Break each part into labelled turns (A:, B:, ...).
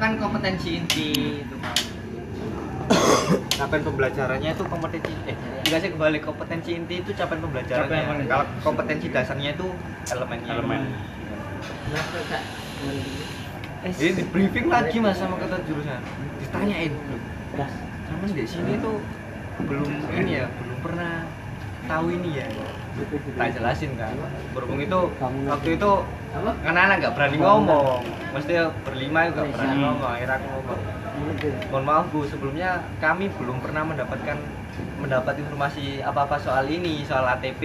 A: kan kompetensi inti itu kan capaian pembelajarannya itu kompetensi eh enggak sih kebalik kompetensi inti itu capaian
B: Capaian
A: pembelajarannya
B: pembelajaran.
A: kalau kompetensi dasarnya itu elemennya
B: Elemen.
C: Kenapa kak?
A: Eh, jadi di briefing lagi mas sama kata jurusan ditanyain
C: Gas.
A: kamu di sini tuh belum ini ya belum pernah tahu ini ya tak jelasin kan berhubung itu waktu itu
C: Apa?
A: anak-anak nggak berani ngomong mesti berlima nggak berani
B: Hmm.
A: ngomong akhirnya aku ngomong mohon maaf bu sebelumnya kami belum pernah mendapatkan mendapat informasi apa apa soal ini soal ATP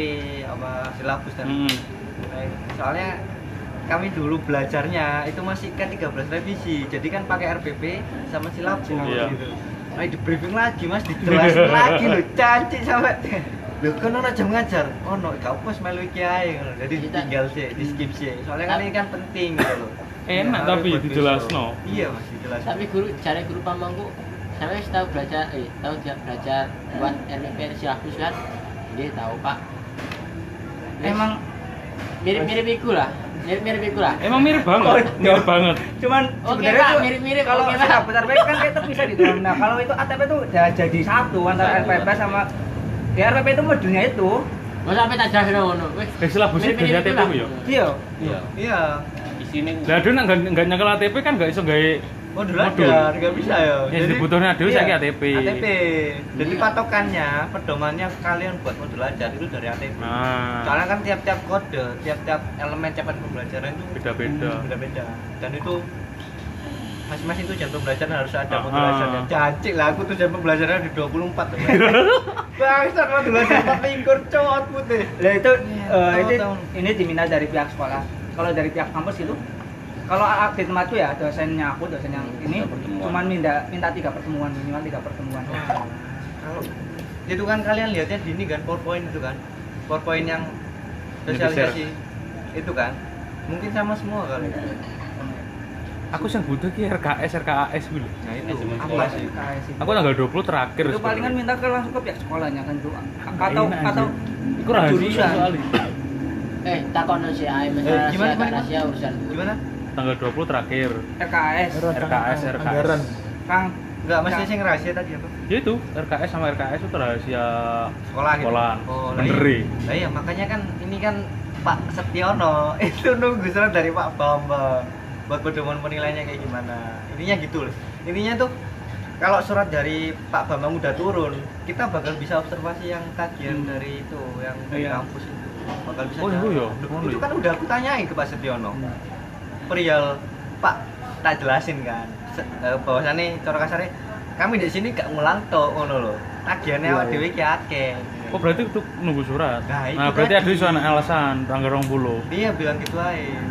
A: apa silabus dan
B: Hmm.
A: lain-lain. soalnya kami dulu belajarnya itu masih kan 13 revisi jadi kan pakai RPP sama silabus
B: Iya.
A: gitu Nah, di briefing lagi mas, dijelasin lagi lo, cantik sampai Lho kan ono jam ngajar, ono gak apa melu iki ae ngono. Jadi
C: Kita-
A: ditinggal sih, di skip sih. Soalnya kan ini kan penting gitu loh.
B: Enak tapi
A: Buat besok.
B: dijelasno.
A: Iya Mas, dijelasno.
C: Tapi guru, cari guru pamangku Saya wis tahu belajar, eh tahu dia belajar buat RPPR silabus kan Dia tahu pak Wis,
A: Emang
C: mirip-mirip iku lah Mirip-mirip iku lah
B: Emang mirip banget,
D: iya.
A: Oh,
B: mirip banget.
A: cuman
C: Oke,
A: sebenarnya
C: Pak,
A: tuh
C: mirip-mirip,
A: kalau
C: oke, Pak.
A: okay, besar kan kayak itu bisa gitu nah kalau itu ATP itu udah jadi satu antara
C: Satu,
A: RPP
C: Pak.
A: sama di RPP itu modulnya itu
C: Mau sampai tak jelasin ngono wis.
B: Eh, silabusnya
C: Mirip-mirip
B: dari
C: iku lah.
B: ATP ya?
A: iya
B: Iya.
A: iya
E: Isine
B: Lah dulu nggak nggak nyekel ATP kan nggak iso gawe
A: modul
B: Modul.
A: aja nggak bisa ya
B: Ya, dibutuhnya dulu saiki ATP.
A: ATP jadi
C: Iya.
A: patokannya pedomannya kalian buat modul ajar itu dari ATP
B: nah
A: Soalnya kan tiap-tiap kode, tiap-tiap elemen capaian pembelajaran itu
E: Iya.
B: Beda-beda.
A: Hmm, Beda-beda. Dan itu masing-masing itu jam pembelajaran harus
E: Ah,
A: ada
B: Aha.
A: modul ajarnya. Cacik lah aku tuh jam pembelajaran di 24 tuh. Bangsat modul ajar 4 lingkur cowok putih.
D: Lah itu eh,
A: Iya, tahu,
D: ini
A: tahu.
D: ini diminta dari pihak sekolah. Kalau dari pihak kampus itu kalau a- di tempatku ya dosennya aku dosen yang ini
E: Tiga pertemuan.
D: cuman minta minta tiga pertemuan minimal tiga pertemuan.
C: Oh.
A: Kalau itu kan kalian lihatnya di ini kan PowerPoint itu kan. PowerPoint yang
B: Yang
A: sosialisasi itu kan. Mungkin sama semua kali. Nah,
B: aku sing butuh ki RKS RKAS gitu lho.
A: Nah itu
E: Manajemen
A: apa
E: sekolah.
A: sih?
D: KS itu.
B: Aku tanggal 20 terakhir.
D: Iya. itu palingan minta ke langsung ke pihak sekolahnya kan doang. Atau
B: enak,
D: atau
B: Iku rahasia
D: jurusan.
B: soalnya.
C: Eh, takono si Ae
A: Eh,
C: masalah
A: gimana,
C: rahasia,
A: gimana,
C: rahasia urusan
A: Gimana?
B: Tanggal 20 terakhir.
D: RKS.
B: RKS RKS.
D: Kang
A: Enggak,
E: Nah.
A: masih
D: Enggak.
A: sing rahasia tadi apa?
B: Ya itu RKS sama RKS itu rahasia
A: sekolah gitu.
B: Sekolah.
A: Oh, lah
B: Bener,
A: iya.
B: ya.
A: Lah iya, makanya kan ini kan Pak Setiono itu nunggu surat dari Pak Bambang buat pedoman penilaiannya kayak gimana. Intinya gitu loh. Intinya tuh kalau surat dari Pak Bambang udah turun, kita bakal bisa observasi yang kajian dari itu, yang dari
D: Iya.
A: kampus itu. Bakal bisa.
B: Hmm. Oh, iya,
A: jalan.
B: iya.
A: Loh,
B: Oh,
A: Itu
B: iya.
A: kan udah aku tanyain ke Pak Setiono. Perihal Pak tak jelasin kan. Se- eh, bahwasannya cara kasarnya kami di sini gak ngulang tok ngono lho. Tagihannya
B: Iya,
A: awak dhewe ki akeh.
B: Oh berarti itu nunggu surat.
A: Nah, itu
B: Nah, berarti
A: tadi.
B: ada soal alasan tanggal 20.
A: Dia bilang gitu aja.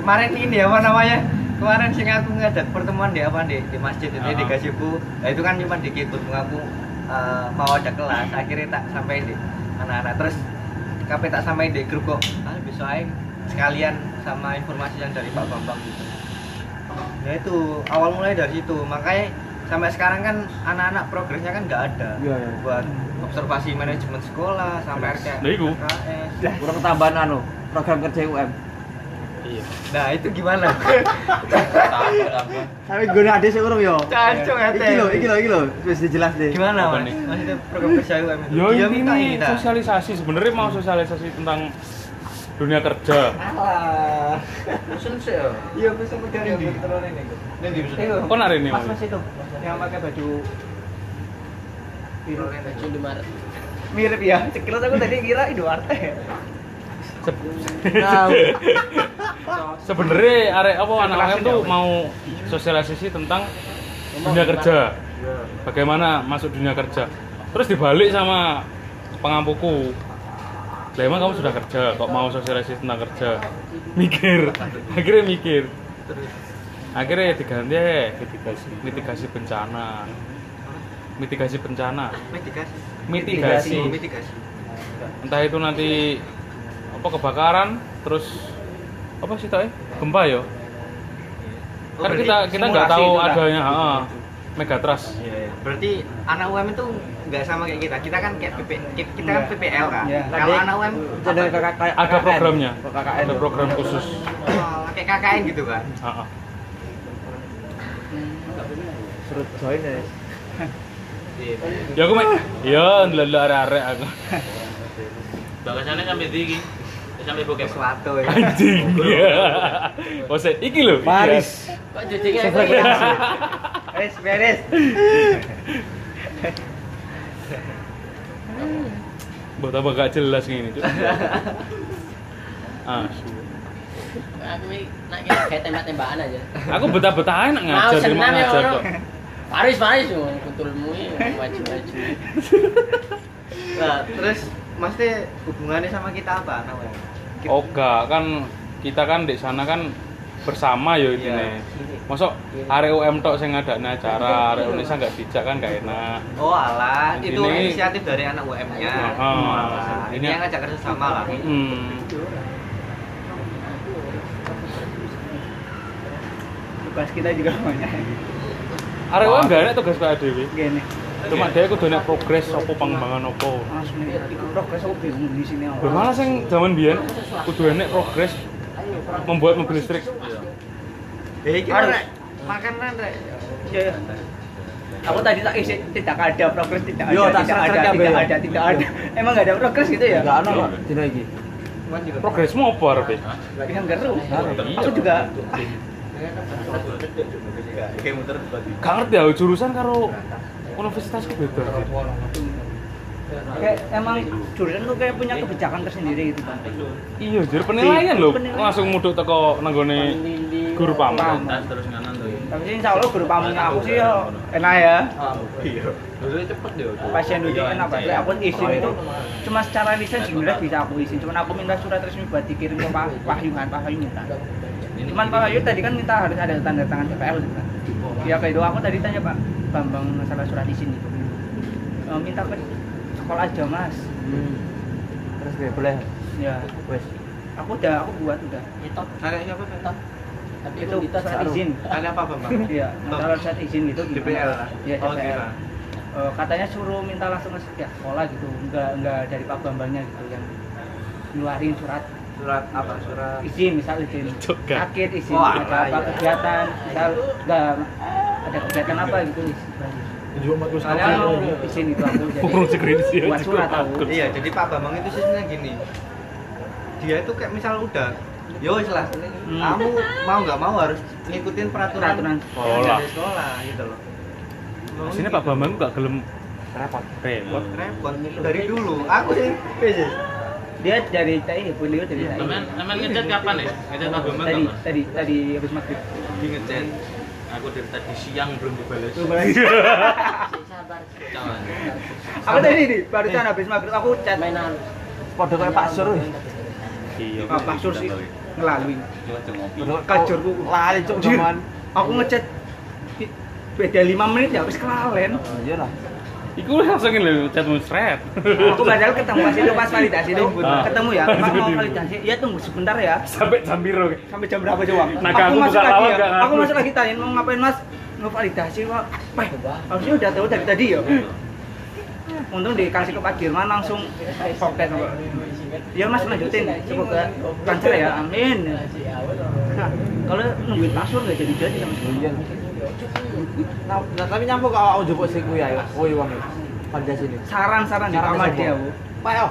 A: Kemarin ini apa namanya? Kemarin sing aku ngajak pertemuan di apa di, di masjid itu di
B: Ah.
A: gazebo. Nah, itu kan cuma dikit buat aku eh, mau ada kelas. Akhirnya tak sampai di anak-anak. Terus kape tak sampai di grup kok. Ah, besok aja sekalian sama informasi yang dari Pak Bambang gitu. Ya itu awal mulai dari situ. Makanya sampai sekarang kan anak-anak progresnya kan nggak ada
B: Iya,
A: buat observasi manajemen sekolah sampai RK,
B: Lah, iku.
A: RKS.
C: Kurang tambahan anu, program kerja UM.
E: Iya.
A: Nah itu gimana?
C: Tapi guna ada sih urung yo.
A: Cacung ya Teh.
C: lho, iki lho, wis dijelas deh.
A: Gimana
E: Apa
A: mas?
E: nih?
A: Maksudnya program kerja UM itu?
B: Ya
A: Dia minta
B: ini
A: ini tak?
B: sosialisasi sebenarnya mau sosialisasi tentang dunia kerja.
A: Alah.
C: Usul sih yo.
A: Iya bisa pegang yang ketelan ini. Ini di
D: Ayo.
B: Kok narik ini?
D: Iya. Mas
B: Mas?
D: Mas itu yang pakai baju biru
C: Baju Maret.
D: mirip ya sekilas aku tadi kira Idoarte
B: Sebenarnya arek apa anak
D: Kelas
B: UM tuh
D: ini,
B: mau sosialisasi tentang dunia kerja. Bagaimana masuk dunia kerja. Terus dibalik sama pengampuku. Lah emang kamu sudah kerja, kok mau sosialisasi tentang kerja? Mikir, akhirnya mikir. Akhirnya diganti eh, mitigasi, mitigasi bencana. Mitigasi bencana.
A: Mitigasi.
B: Mitigasi.
A: Oh, Mitigasi.
B: Entah itu nanti apa kebakaran, terus apa sih tau eh? Gempa ya?
A: Oh,
B: kan
A: berarti
B: kita kita nggak
A: simulasi
B: tahu
A: itu, Kak?
B: adanya heeh, megatrust
A: Iya, iya. Berarti anak UM itu nggak sama kayak kita. Kita kan kayak PP, kita kita kan
D: Iya.
A: PPL kan.
D: Iya.
A: Kalau anak UM
C: Ada kakak kayak
B: ada programnya ada program khusus
A: oh, kayak KKN gitu kan.
B: Heeh.
F: Surut join ya.
B: Ya aku mek. Ya ndelok arek-arek aku.
E: Bagasannya sampai di iki. Sampai bokep.
A: sesuatu ya
B: Anjing. Ya. Ose iki lho. iki ya.
F: Paris.
C: Kok jadinya aku ya?
F: Sefrekuensi.
D: Beres, beres.
B: Buat apa gak jelas ngene, Cuk. Ah.
C: Aku ini nak kira kayak tembak-tembakan aja.
B: Aku betah-betah enak
C: Mau
B: ngajar, terima
C: senam ya
B: ngajar
C: orang.
B: kok.
C: Paris Paris tuh kuntulmu ya maju-maju.
A: nah terus maksudnya hubungannya sama kita apa namanya Kita-
B: Oga kan kita kan di sana kan bersama yo
A: Iya.
B: intine. Masuk arek UM tok sing ngadakne acara, arek Indonesia nggak dijak kan gak enak.
A: oh alah
B: Ini-
A: itu inisiatif dari anak UM nya
B: Oh, ini-
A: ini yang ngajak kerja sama lah
B: Hmm.
D: Tugas kita juga banyak.
B: Arek UM gak enak tugas kayak dhewe.
D: Gini.
B: Cuma dia kudu nek progres apa pengembangan apa.
D: Langsung ikut progres aku bingung di sini.
B: Lho malah sing zaman biyen kudu enek progres membuat mobil listrik.
A: eh kita
D: Harus.
A: rek makanan rek
D: Iya, iya. Aku tadi tak isi tidak ada progres, tidak ada,
F: Yo, tak
D: tidak ada,
F: serak-serak
D: tidak
F: ya,
D: ada,
F: Bro.
D: tidak ada. Emang nggak ada progres gitu ya?
F: Enggak ono kok dina iki.
A: cuman juga
B: Progresmu apa arepe?
D: Yang geru.
B: Iya.
D: Aku juga
A: kayak muter
B: Gak ngerti ya jurusan karo universitasku beda.
D: kayak emang jurusan tuh kayak punya kebijakan tersendiri gitu kan.
B: Iya, jadi penilaian lho
D: Penilaian.
B: langsung muduk teko nanggone guru pamrih.
E: Tas terus nganan tuh. ya.
D: Tapi sih insya Allah guru pamunya aku sih ya enak ya.
E: Dulu cepet deh. waktu.
D: Pasien dulu
E: Iya,
D: enak banget.
E: iya.
D: Aku izin itu cuma secara lisan sebenarnya bisa aku izin. Cuman aku minta surat resmi buat dikirim ke Pak Wahyu kan, Pak Wahyu minta.
E: Ini-
D: Cuman Pak Wahyu tadi kan minta harus ada tanda tangan DPL gitu kan.
A: Iya.
D: Ya kayak itu aku tadi tanya Pak Bambang masalah surat izin itu. E, minta ke sekolah aja mas.
F: Terus gue boleh.
D: Ya,
F: Wes.
D: aku udah aku buat udah.
C: Nyetop
A: ada siapa Bang?
C: tapi
D: Itu
C: itu kita
D: surat izin.
A: ada apa bang
D: Iya, masalah surat izin gitu
A: DPL
D: gimana?
A: lah
D: Iya,
A: Oh,
D: DPL.
A: DPL.
D: E, katanya suruh minta langsung ke pihak sekolah gitu, enggak enggak dari Pak Bambangnya gitu yang ngeluarin surat
A: surat apa surat
D: izin misal izin
B: Juga.
D: sakit izin
A: Oh,
D: ada
A: alah,
D: apa
A: iya.
D: kegiatan misal enggak ada kegiatan apa gitu
F: Jumat aku
D: soalnya aku izin itu aku
B: Urung
D: jadi
B: sekretis ya.
D: buat surat aku
A: Iya, jadi Pak Bambang itu sistemnya gini. Dia itu kayak misal udah, yo wis lah,
B: Hmm.
A: kamu mau nggak mau harus ngikutin peraturan,
D: Peraturan
B: sekolah.
A: yang dari sekolah gitu loh. Mau
B: Sini
A: gitu.
B: Pak Bambang gak gelem repot. Repot.
A: repot dari dulu. Aku sih, wis, wis.
D: dia dari TI beliau dari TI
E: Temen, temen ngecat kapan ya? Ngecat Pak Bambang
D: tadi
E: kapan?
D: tadi tadi habis maghrib
A: di ngechat.
E: Aku dari tadi siang belum dibalas.
C: sabar.
E: Jangan.
D: aku tadi nih barusan habis maghrib aku chat
C: Main harus.
F: Padha kayak Pak Sur. wes.
B: Iya.
D: Pak Pak Sur sih ngelalui
E: Ngajak ngopi.
F: Padha kayak-
D: Kajurku.
F: lali cuk
D: Jir,
F: zaman.
D: aku ngechat i- beda 5 menit ya habis kelalen
F: Oh, Iya lah.
B: Iku langsung lho chat musret.
D: aku padahal ketemu pas itu pas validasi itu
B: Ah.
D: ketemu ya Pak mau
B: Ribut.
D: validasi ya tunggu sebentar ya
B: Sampai jam biru.
D: sampai jam berapa coba?
B: Nah, aku buka
D: masuk lagi
B: lawan,
D: ya.
B: gak ngaku.
D: Aku masuk lagi tanya mau ngapain mas? Mau validasi pak? Wah, harusnya udah tahu dari tadi ya. Untung dikasih ke Pak Dirman langsung fokus. Ya mas lanjutin, semoga lancar ya, amin. Nah, kalau nungguin password nggak jadi jadi sama
F: Oh,
D: sekali.
F: Iya. Nah, nah, tapi nyampe kok awak njupuk sik kuwi ayo. Oh, iya wong. Panja sini.
D: Saran-saran di
F: Saran
D: kamar
F: apa?
D: dia bu,
F: Pak yo.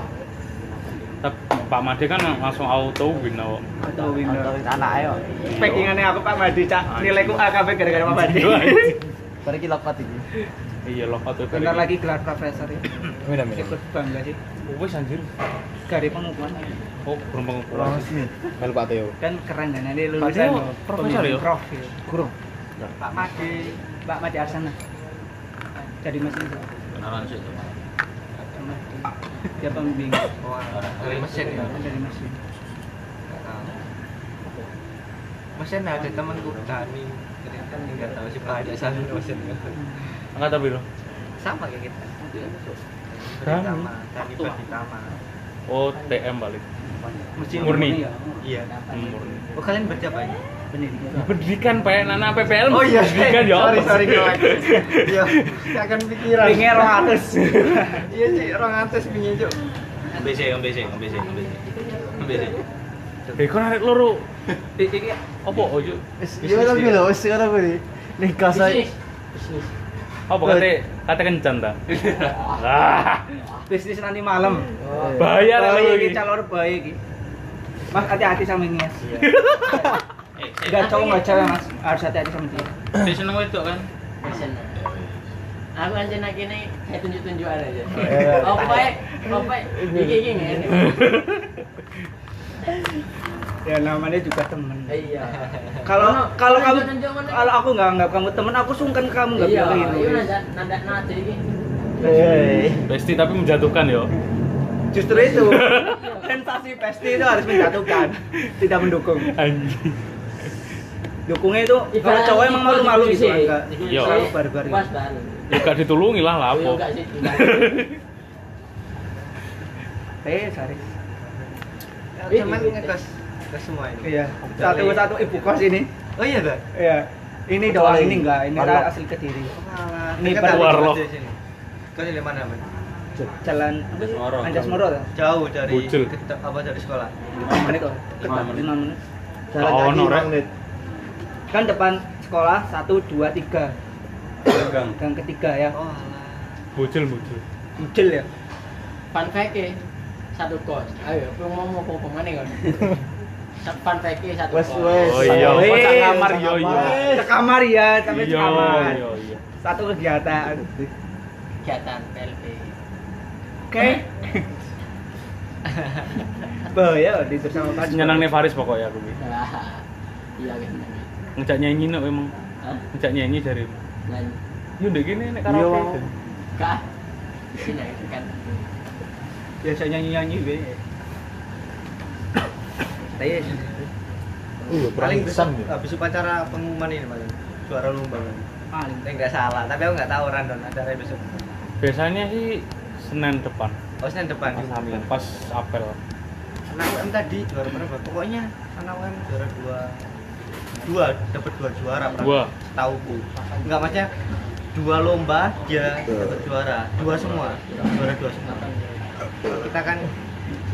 B: Tapi Pak Made kan langsung auto win awak.
D: atau
F: Atau
D: window.
F: anake yo.
D: Packingannya aku Pak Madi cak nilaiku AKB gara-gara Pak Madi.
F: Bari iki lopat iki.
B: Iya loh auto
D: Bentar lagi gelar profesor ya.
F: Mina
D: Ikut bangga sih,
B: Wes Oh, anjir.
D: dari pengukuhan.
B: Oh, berembang kurang.
F: Melu Pak Teo.
D: kan keren kan ini
B: Padahal
D: lulusan
B: profesor ya?
D: prof ya.
F: Kurung.
D: Pak Madi Pak Madi Arsana jadi mesin itu
E: Kenalan sih. Pak.
D: Pak Madi. dia pembimbing
A: Wah, dari mesin ya.
D: Kan dari mesin
A: Nggak tahu. Mesin ada temanku Dani. Jadi kan nggak tahu sih Pak ada satu mesin.
B: Angkatan biru.
A: Sama kayak kita.
B: Dani.
A: Sama, Dani Berditama.
B: Oh, TM balik.
D: mesin
B: Murni.
D: ya
A: Iya.
B: Murni.
A: Oh, kalian berapa ya?
D: pendidikan
B: Pendidikan Pak Nana PPL.
A: Oh iya,
B: pendidikan ya.
A: Sorry, sorry, kelek. Iya, saya akan pikiran.
D: Ringnya 200
A: Iya sih, orang atas pingin cuk.
E: Ambisi, ambisi, ambisi, ambisi. Ambisi.
B: Eh, Beko narik loro. Iki opo ojo?
A: Iya,
F: Iya lah, Milo. Wis ora kuwi. Nih kasih
C: Bisnis. Bisnis.
B: Oh, kate kate kencan ta? Ah,
D: bisnis nanti malam
B: bahaya lah
D: baik
B: lu
D: iki
B: iki.
D: calon baik iki mas hati-hati sama ini mas
E: Eh,
D: nggak
E: sik.
D: cowok nggak cewek mas harus hati-hati sama dia
B: eh,
E: Sik seneng wedok kan?
C: Passion. Aku ancen kene saya tunjuk-tunjukan aja.
F: Iya.
C: Apa ae? Apa ae? Iki iki ngene.
D: ya namanya juga temen
C: Iya.
D: kalau kalau kamu
C: Tunjuk-tunjuk mana?
D: kalau aku nggak anggap kamu temen aku sungkan kamu nggak
C: iya,
D: bilang
C: iya
D: ini
C: nanda nanda nanda iki.
A: iya.
B: Besti tapi menjatuhkan yo.
D: justru itu sensasi pasti itu harus menjatuhkan tidak mendukung
B: Anjing.
D: dukungnya itu kalau cowok emang malu-malu gitu enggak
B: Iya.
D: selalu barbar
C: Pas baru.
B: Ya gak ditulungi lah lapo.
C: Enggak sih.
D: eh sorry
A: Ya, cuman ngegas ke semua ini
D: iya satu satu ibu kos ini
A: oh iya dah
D: iya ini doang ini enggak ini
F: Warlock.
D: asli kediri Ini
A: ini
D: baru
B: warlock.
A: kau dari mana men
D: jalan
E: Anjasmoro.
D: Anjasmoro kan?
A: jauh dari
B: Bocil.
A: ket- apa dari sekolah
D: lima menit kok
E: Lima menit.
D: lima menit
F: jalan
B: Oh,
F: kaki
B: no,
F: lima
B: Rek.
F: menit.
D: kan depan sekolah satu dua tiga
E: Gang.
D: gang ketiga ya
A: oh alah
B: Bocil bocil.
D: Bujel ya
C: Fun fact ya, satu kos. Ayo, aku mau mau mau kemana kan? Fun fact ya, satu
F: Wes
C: kos.
F: wes.
B: Oh, iya.
F: Wes,
D: Wes,
F: kamar
B: iya,
F: kamar.
B: iya.
D: sekamar ya sampai
B: Iya,
D: sekamar
B: iya, iya.
D: satu kegiatan
C: Kegiatan PLP.
D: oke bahaya loh tidur sama pas
B: Nyenang nih Faris pokoknya aku. iki.
C: Wah, Iya kan.
B: Ngejak nyanyi nek emang
C: Hah?
B: ngejak nyanyi dari
C: Lan,
B: Yo ndek kene nek
F: Iya.
B: karaoke.
C: kah? Sini aja, kan.
D: biasa nyanyi nyanyi be tapi
B: Uh,
F: Iya,
A: paling
F: kurang pisang ya.
A: habis upacara pengumuman ini mas suara lomba men
D: paling
A: Ini nggak salah tapi aku nggak tahu random acara besok
B: Biasanya sih Senin depan,
A: oh Senin depan
B: pas April. Pas April.
A: anak UM tadi juara berapa pokoknya anak UM juara dua dua dapat dua juara Pram.
B: Dua.
A: setauku nggak maksudnya dua lomba dia dapat juara dua semua juara dua semua Kalau kita kan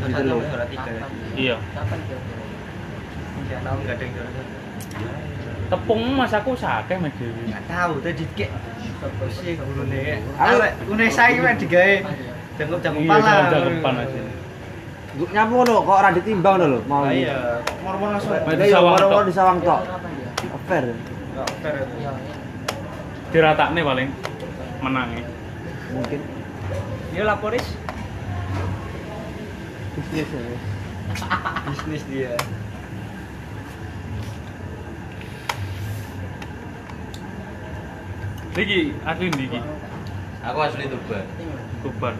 A: juara
E: Gitu
A: satu sama juara tiga ya
B: Iya.
C: Kapan kira-kira?
A: nggak tahu nggak ada yang juara satu
B: Tepung mas aku sakit mas Dewi.
A: nggak tahu tadi kek sih guru nih Ah, awet unesa ini mah digawe jangkup jangkup
B: Iya,
A: pala
B: jangkup-jangkupan aja.
F: Juk nyapu ngono kok ora ditimbang ngono lho. Mau.
A: Ah, iya mor-mor langsung
B: Berarti
F: Berarti ya
B: sawang tok.
F: orang-orang di sawang tok.
C: Kapan ya?
F: Fair.
A: nggak fair itu.
C: Iya, iya.
B: Diratakne paling menangnya.
F: Mungkin.
D: dia laporis
F: Bisnis
D: Iya,
F: ya.
A: bisnis dia
B: Diki, asli Diki.
E: Aku asli Tuban.
C: Tengok.
B: Tuban.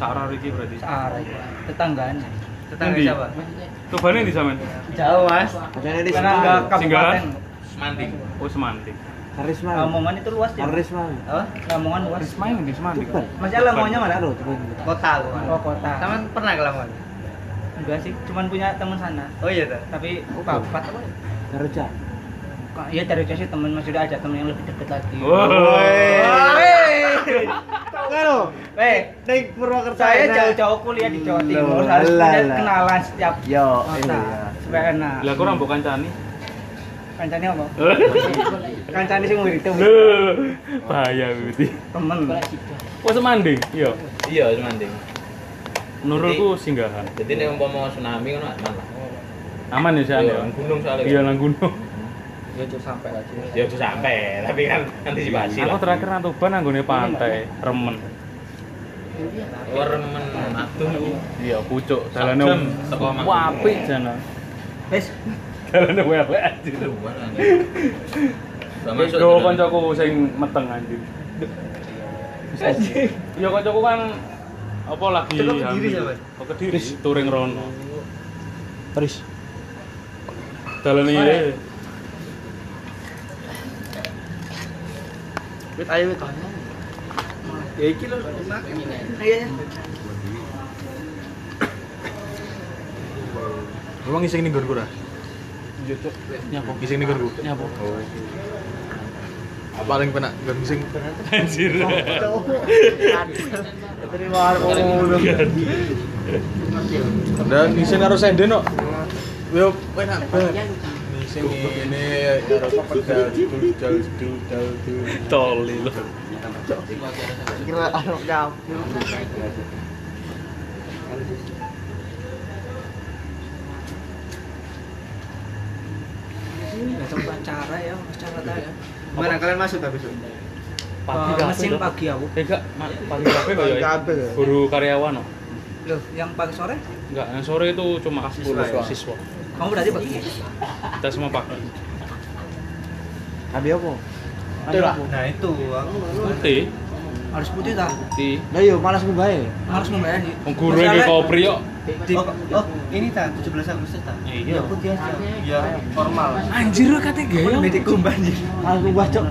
B: Sarah Riki berarti.
D: sarah tetangganya
A: tetangga
B: Endi?
A: siapa
C: Maksudnya,
B: Tubannya di sampean.
A: jauh mas
F: Jadi di
D: karena enggak
F: sana
D: kabupaten
E: Semanting.
B: Oh semantik.
F: karisma.
D: Lamongan itu luas ya
F: Karisma.
A: apa
D: Lamongan luas
B: Semantik di semantik.
F: Tuban.
D: Masalah Lamongannya mana
F: Halo, coba ini.
A: kota aku Mas.
D: oh kota
A: Taman pernah ke Lamongan?
D: enggak sih cuman punya teman sana
A: Oh iya dah.
D: tapi bapak apa ya?
F: Kerja.
D: Kok iya dari Jogja sih teman masih ada teman yang lebih dekat lagi
B: Oh.
F: Kalau
D: Weh,
F: naik Purwakarta
D: saya
A: Nah.
F: enak.
D: jauh-jauh kuliah di Jawa Timur
F: Lala.
D: harus punya kenalan setiap
F: Yo,
D: kota
F: iya.
D: supaya enak
B: Lah kurang bukan cani.
D: kancane apa? kancane sing wiridan
B: Loh, bahaya berarti.
D: temen
C: boleh situ.
B: Oh semantik. Iya.
E: Iya, Semanting.
B: Menurutku singgahan.
E: Jadi nek umpama tsunami ngono aman lah.
B: Aman ya Shan,
E: Iya,
B: ya.
E: nang gunung soalnya.
B: Iya nang gunung.
E: Ya udah sampai, tapi kan antisipasi
B: Aku
E: lah.
B: terakhir nang Tuban nanggone pantai remen.
E: Wermen atuh niku.
B: Iya, pucuk
E: Sak jam,
B: dalane
E: teko omahku.
B: apik jana.
D: wis
B: Dalane welek anjir.
E: Luar anjir. Gak masuk
B: Yo
E: jalan.
B: kancaku sing meteng anjir. Yo kancaku kan apa lagi
A: Cekok Kediri,
B: hamil.
A: Sahabat.
B: Kok kediri touring rono.
F: Teris.
B: Dalane ngene.
A: Wit ayo wit. Ya iki lho mak.
D: iya
F: Emang iseng nih gorgura?
B: Nyapo?
F: Iseng nih gorgu.
B: Nyapo?
G: Oh.
F: Paling penak gorgising.
B: Anjir.
F: Terima kasih. Dan iseng harus senden kok. Yo, penak banget.
C: Iya, lucu.
G: sing ini karo pedal dul dul dul dul dul.
B: Toli lo.
F: Kira anu nyapu.
D: acara ya acara tadi ya
A: Gimana kalian masuk habis itu?
B: Pagi
D: Eh,
B: kafe
D: mesin
B: lo.
D: pagi aku
B: Eh enggak, ma- pagi kafe kok ya.
G: Kabeh.
B: Guru karyawan oh.
D: loh yang pagi sore
B: Enggak, yang sore itu cuma
A: Siswa ya?
B: siswa. siswa.
D: kamu berarti pagi
B: Kita semua pagi.
F: Ambil apa?
A: Betul
F: Ambil
A: lah.
F: apa?
A: Nah itu aku
B: Putih,
D: harus putih tak
B: putih.
F: Lah yo malas mbae.
D: harus membayani
B: Wong guru iki kopri kok.
A: di, oh, oh, ini ta 17 Agustus ta? Ya
B: Iya.
A: putih aja. Ya formal.
D: anjir kata gaya
A: Metik kumbah anjir.
F: Aku bacok.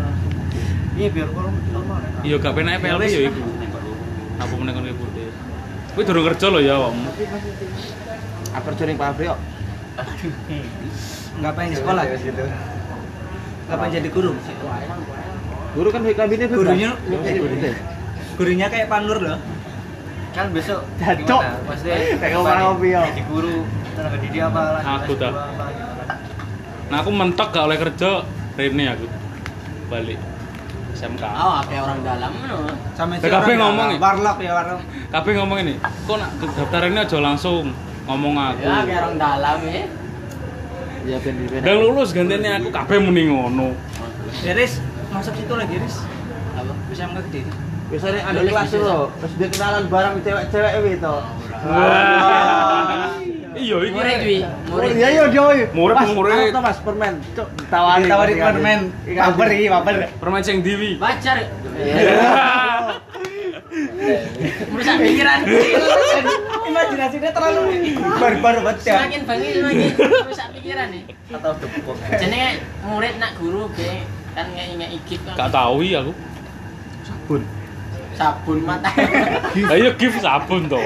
A: Iya biar formal formal.
B: Iya gak penak PLP yo iku. Apa meneh kon iki putih. Kuwi durung kerja lho ya awakmu.
F: Aku kerja ning pabrik kok.
D: nggak pengen di sekolah
A: Serius gitu.
D: nggak pengen jadi guru
F: Guru kan kabinnya bebas.
D: Gurunya-
F: Iya, guru deh.
D: gurunya kayak panur loh
A: Kan besok
F: Jatuh.
A: gimana? Maksudnya
F: Kayak orang ngopi, ya.
A: Jadi guru tenaga didik apa lah.
B: Aku
A: S2
B: tak.
A: apa, gimana.
B: Nah aku mentok gak oleh kerja Rene aku balik SMK.
C: Oh, apa orang dalam no?
D: sama
B: PKB ngomong nih.
D: warlock ya warlock
B: Kabeh ngomong ini, kok nak daftar ini aja langsung ngomong aku.
C: Ya, apa orang dalam ya?
F: Iya ben ben.
B: Dan lulus gantene aku kabeh muni ngono.
D: ya Riz masuk situ lagi Riz
C: Apa?
D: bisa nggak gede
F: Biasanya ada
C: Lulus
F: kelas
C: bisa.
F: lho. Terus dia kenalan bareng cewek-cewek itu toh.
B: Wah. Iya iki.
C: Murid Dwi, murid.
F: Iya yo yo.
B: Murid,
F: Mas,
B: murid.
F: anu toh, Mas permen. Cuk, ditawari.
A: Iya,
D: Ditawari permen.
F: Paper iki, paper.
B: Permen sing Dewi.
C: Pacar.
B: Iya.
C: Merusak pikiran.
D: imajinasinya terlalu barbar banget ya
C: Semakin bangi semakin merusak pikiran nih.
A: Atau depok.
C: Jenenge murid nak guru ge kan ngei-ngei gift kan.
B: Gak tahu ya aku.
C: Sabun mata.
B: Lah iya gift sabun to.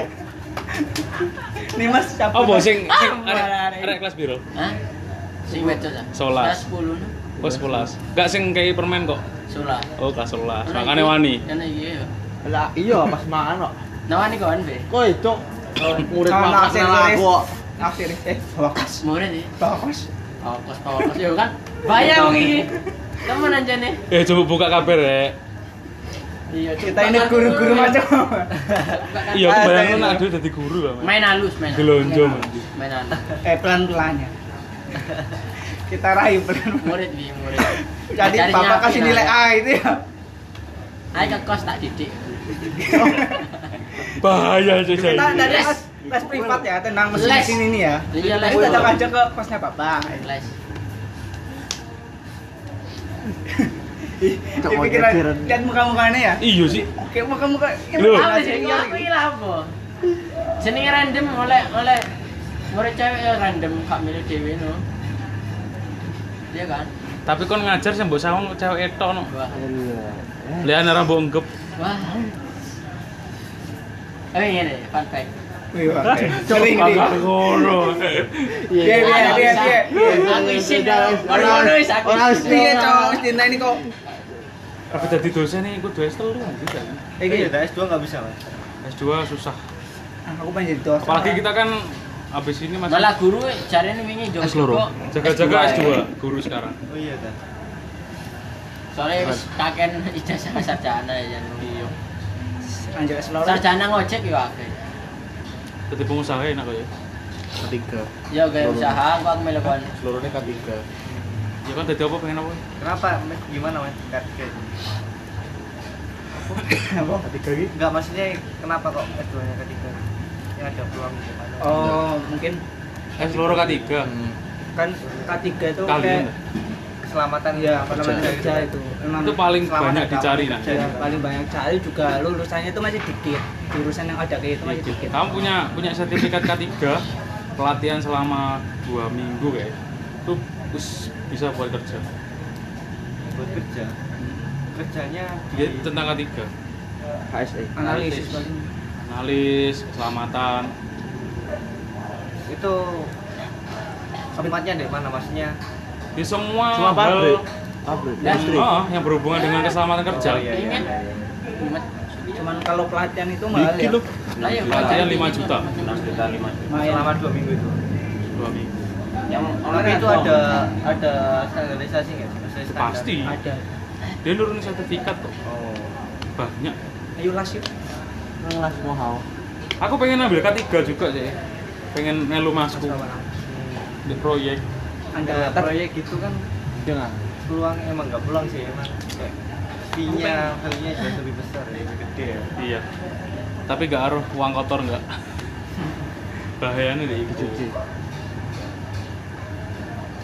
D: nih mas siapa
B: Apa sing sing
C: Ah,
B: arek
C: barang.
B: arek kelas biru?
C: Hah? Sing wedok ta?
B: Sebelas.
C: 10 no.
B: Oh 11. Enggak sing kayak permen kok.
C: 11.
B: Oh kelas 11. Makane wani.
C: Kan iki yo.
F: Lah iya pas mangan kok.
C: Nawani kawan be.
F: Koe cuk. Murid
D: Sama
F: makan
D: nasi
F: kenal aku.
D: tulis.
F: kok.
D: akhir eh bawakas
C: Murid ya. Oh,
D: bawakas
C: Opos opos yo kan. Bayang wong iki. Temen anjane.
B: Eh coba buka kabar rek.
C: Iya,
D: kita ini guru-guru macam
B: Iya
D: Ah,
B: bayangin
D: saya-
B: nak dhewe dadi guru Bang.
C: main halus, main. halus.
B: Gelonjo.
C: Main halus, Main halus.
D: eh pelan pelannya kita raih pelan
C: Murid bi, murid.
D: jadi
C: Ajarinya
D: bapak
C: api,
D: kasih nilai
C: nah.
D: A itu ya
C: Ayo ke kos tak didik.
B: Bahaya sih saya.
D: kita dari
C: Les.
D: les les privat ya tentang mesin
C: Les.
D: mesin ini ya
C: Iya, les.
D: Aku datang aja ke kosnya bapak
C: Les.
F: Cuk,
D: Dia pikiran
F: pikiran.
D: lihat muka-mukanya ya
B: Iya sih.
D: kayak muka-muka kayak
B: Loh.
D: muka
C: Apa
D: aja
C: jenenge
D: iya.
C: aku ya? iki lah apa? Jenenge random oleh oleh murid cewek ya random kak milih dhewe no. Iya kan?
B: Tapi kon ngajar sih mbok sawang cewek etok no.
C: Wah.
B: Lihat ana mbok ngep.
C: Wah. Eh ngene, fun fact.
D: Wih, wah, sering nih
B: Ngono.
D: Iya, iya, iya, iya.
C: Aku isin. Ono
F: Orang-
C: ono is aku.
F: orang
C: isin.
D: Iya, cowok cinta ini kok
A: Iya,
B: Aku jadi dosen nih, aku dua S telu anjir, kan.
D: Eh,
A: Iya,
D: gitu.
A: S2 enggak bisa, Mas.
B: S2 susah.
D: Ah, aku pengen jadi dosen
B: Apalagi kita kan habis ini masih
C: Malah guru jarene wingi jogo.
B: S loro. Jaga-jaga S2
C: eh.
B: guru sekarang.
A: Oh iya ta.
C: Soalnya wis kaken ijazah sarjana ya jan yo.
D: anjir selor
C: Sarjana ngojek yo akeh.
B: Jadi pengusaha enak kok ya.
G: Ketiga.
C: Yo gawe usaha aku aku melu kon.
G: Seluruhnya ketiga.
B: Ya kan jadi apa pengen apa?
A: Kenapa? Mas? Gimana, Mas? Kaget.
D: Apa?
G: Ketiga iki.
A: Enggak maksudnya kenapa kok S2-nya ketiga? Yang ada peluang gimana?
D: oh mungkin
B: S loro ketiga.
D: kan K3 itu
B: Kalian.
D: kayak
A: keselamatan
D: ya apa namanya kerja itu memang
B: Itu paling
A: Selamat
B: banyak
A: datang.
B: dicari nah.
D: ya, paling banyak cari juga lulusannya itu masih dikit jurusan yang ada kayak itu masih dikit
B: Iya, Kamu punya punya sertifikat K3 pelatihan selama dua minggu kayak itu us- bisa buat kerja.
A: buat kerja. Kerjanya
B: Dia Iya, tentang K3,
F: HSE.
D: analisis paling
B: analis, keselamatan.
A: itu tempatnya di mana maksudnya?
B: Di semua,
E: Oh.
F: Semua
B: hal
F: pabrik. Pabrik.
B: yang,
F: Industri.
B: oh, yang berhubungan dengan keselamatan kerja.
A: Oh, iya, iya, iya, iya.
C: Jumat.
D: cuman kalau pelatihan itu mahal
B: Dikit
D: ya
B: loh,
A: Iya.
C: Lah yo
B: Pelatihan lima juta.
A: Selama dua minggu itu.
B: dua minggu.
A: yang orang itu ada ada standarisasi nggak sih? Maksudnya standar.
B: Pasti.
D: ada
B: Dia nurunin sertifikat kok.
A: Oh.
B: Banyak.
D: ayo las yuk
F: Ngelas mohau.
B: Aku pengen ambil K3 juga sih. Pengen melu masku di proyek.
D: anda
A: Nah,
D: tetap
A: proyek gitu kan
F: Jangan.
A: peluang emang nggak peluang sih emang kayak fee-nya value-nya jauh lebih besar ya lebih gede ya.
B: Iya. Tapi gak aruh uang kotor nggak. Bahayanya deh gitu. itu.
F: Dicuci.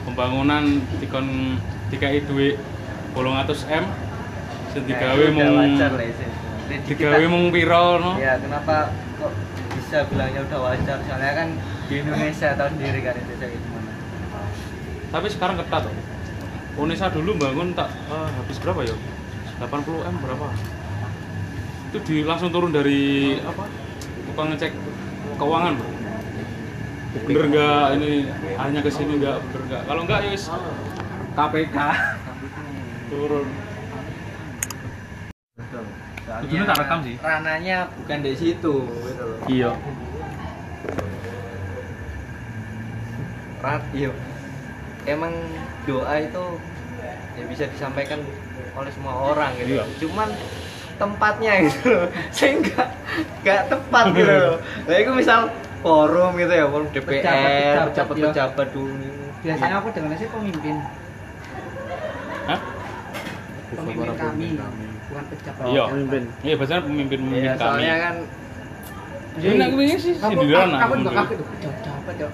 B: Pembangunan dikon dikai duit 800 M sing
A: Nah,
B: digawe
A: itu udah
B: mung
A: wajar lah sih. Jadi
B: digawe
A: kita-
B: mung piro no.
A: Ya, kenapa kok bisa bilangnya udah wajar? Soalnya kan di Indonesia tahu sendiri kan itu kayak gimana.
B: Tapi sekarang ketat. loh. Unesa dulu bangun tak eh, habis berapa ya? 80 M berapa? Itu di langsung turun dari apa? Tukang ngecek keuangan, Bro. Bener nggak ini hanya ke sini nggak bener nggak? Kalau nggak ya wis KPK turun.
A: Betul.
B: Dulu tak rekam sih.
A: Rananya bukan dari situ gitu loh.
B: Iya.
A: Rat, iya. Emang doa itu ya bisa disampaikan oleh semua orang gitu.
B: Iya.
A: Cuman tempatnya gitu loh. Saya enggak enggak tepat gitu loh. Lah itu misal forum gitu ya, forum DPR,
D: Pejabat-pejabat, ya.
A: pejabat-pejabat dulu.
D: biasanya aku dengarnya sih pemimpin
B: Hah?
D: pemimpin kami bukan pejabat
B: Iya. Iya, biasanya pemimpin-pemimpin
A: Ya,
B: kami.
A: soalnya kan
B: Jadi nak kepingin sih
D: Aku-
B: sindiran
D: aku
B: aku
D: juga
B: dulu.
D: kaget tuh pejabat ya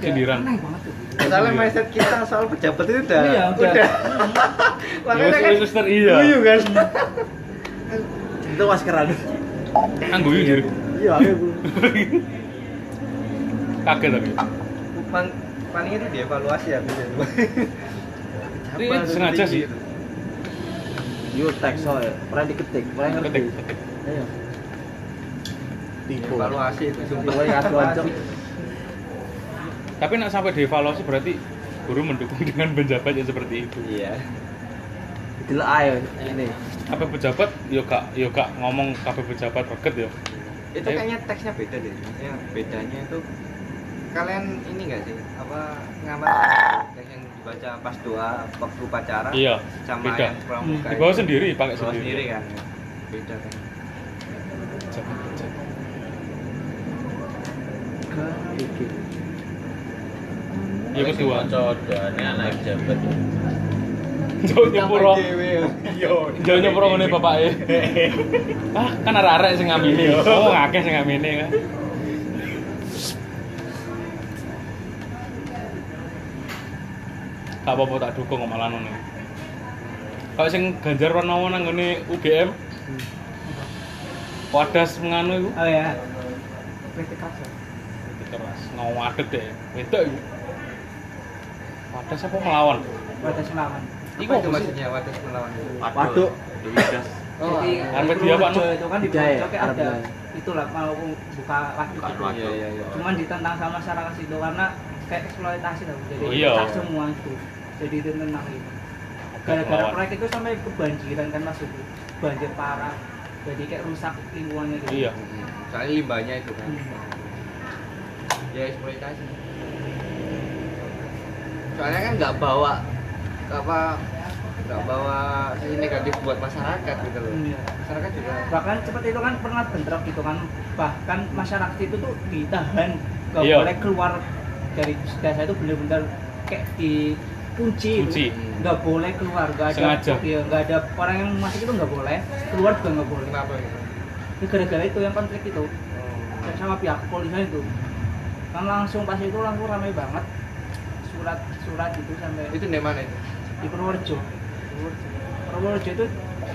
B: Sindiran.
D: Aneh banget tuh
B: Iya.
A: Masalah mindset kita soal pejabat itu udah
D: Iya, udah.
A: Makanya
B: Ya,
A: kan
B: Mister, iya.
A: guyu kan.
F: Itu maskeran.
B: Angguyu jadi
F: Iya, aku.
B: kaget tapi.
A: Pan- paling itu dievaluasi ya bisa.
B: Tapi sengaja sih.
F: Yo teks soe. Pernah diketik, pernah Iya.
B: Ketik, ketik.
F: Ayo. Tipu.
A: Evaluasi itu
F: Tipu ya aku ancam.
B: Tapi nak sampai dievaluasi berarti guru mendukung dengan pejabat yang seperti itu.
A: Iya.
F: Delok ayo ini.
B: Apa pejabat yo kak yo kak ngomong kabeh pejabat reket yo.
A: Itu
B: Ayo.
A: kayaknya teksnya beda deh. Maksudnya bedanya itu kalian ini enggak sih apa ngamat teks yang dibaca pas doa waktu pacaran
B: Iya,
A: sama
B: beda. Hmm.
A: yang pramuka
B: Di bawah
A: itu.
B: sendiri pakai
A: Dibawa sendiri
B: sendiri.
A: kan beda kan
B: Pejabat, pejabat. Iya kedua.
E: Codane anak jabat.
B: Jauh nyepuro.
A: Iya.
B: Jauh nyepuro ngene bapake. ya. Ah, kan arek-arek sing ngamini. Oh, akeh sing ngamini kan. Gak apa-apa tak dukung kok malah ngono. Kalau sing Ganjar Pranowo nang ngene UGM. Wadas menganu iku.
D: oh ya kritik aja
B: keras ngawadeg deh wedok iku wadas apa melawan
D: batas melawan
A: Iku itu maksudnya wadah melawan.
F: Waduh.
E: Duidas.
A: Oh,
F: iya.
D: Jadi
B: Arpe
D: di
B: dia, Pak,
D: Purworejo itu kan di
F: Budaya,
D: Purworejo kayak ada
F: Arpe.
D: itulah mau buka waktu
E: Bukan waktu.
A: Iya, iya, iya.
D: cuman ditentang sama masyarakat itu karena kayak eksploitasi tau jadi
B: Oh, iya.
D: pecah semua itu jadi ditentang itu gara-gara
B: melawan
D: proyek itu sampai kebanjiran kan mas itu banjir parah jadi kayak rusak lingkungannya gitu
B: iya
A: Soalnya limbahnya itu kan.
D: Hmm.
A: Ya eksploitasi. Soalnya kan nggak bawa apa nggak bawa sisi negatif buat masyarakat gitu loh.
D: Iya.
A: Masyarakat juga
D: bahkan seperti itu kan pernah bentrok gitu kan bahkan masyarakat itu tuh ditahan gak
B: Iya.
D: boleh keluar dari desa itu bener-bener kayak dikunci gitu.
B: Kunci.
D: nggak boleh keluar nggak ada
B: Sengaja.
D: iya, nggak ada orang yang masuk itu nggak boleh keluar juga nggak boleh
A: kenapa gitu.
D: Ini gara-gara itu yang konflik itu
A: Oh.
D: dan sama pihak kepolisian itu kan langsung pas itu langsung ramai banget surat-surat itu sampai
A: Itu di mana itu?
D: di Purworejo Purworejo. Purworejo itu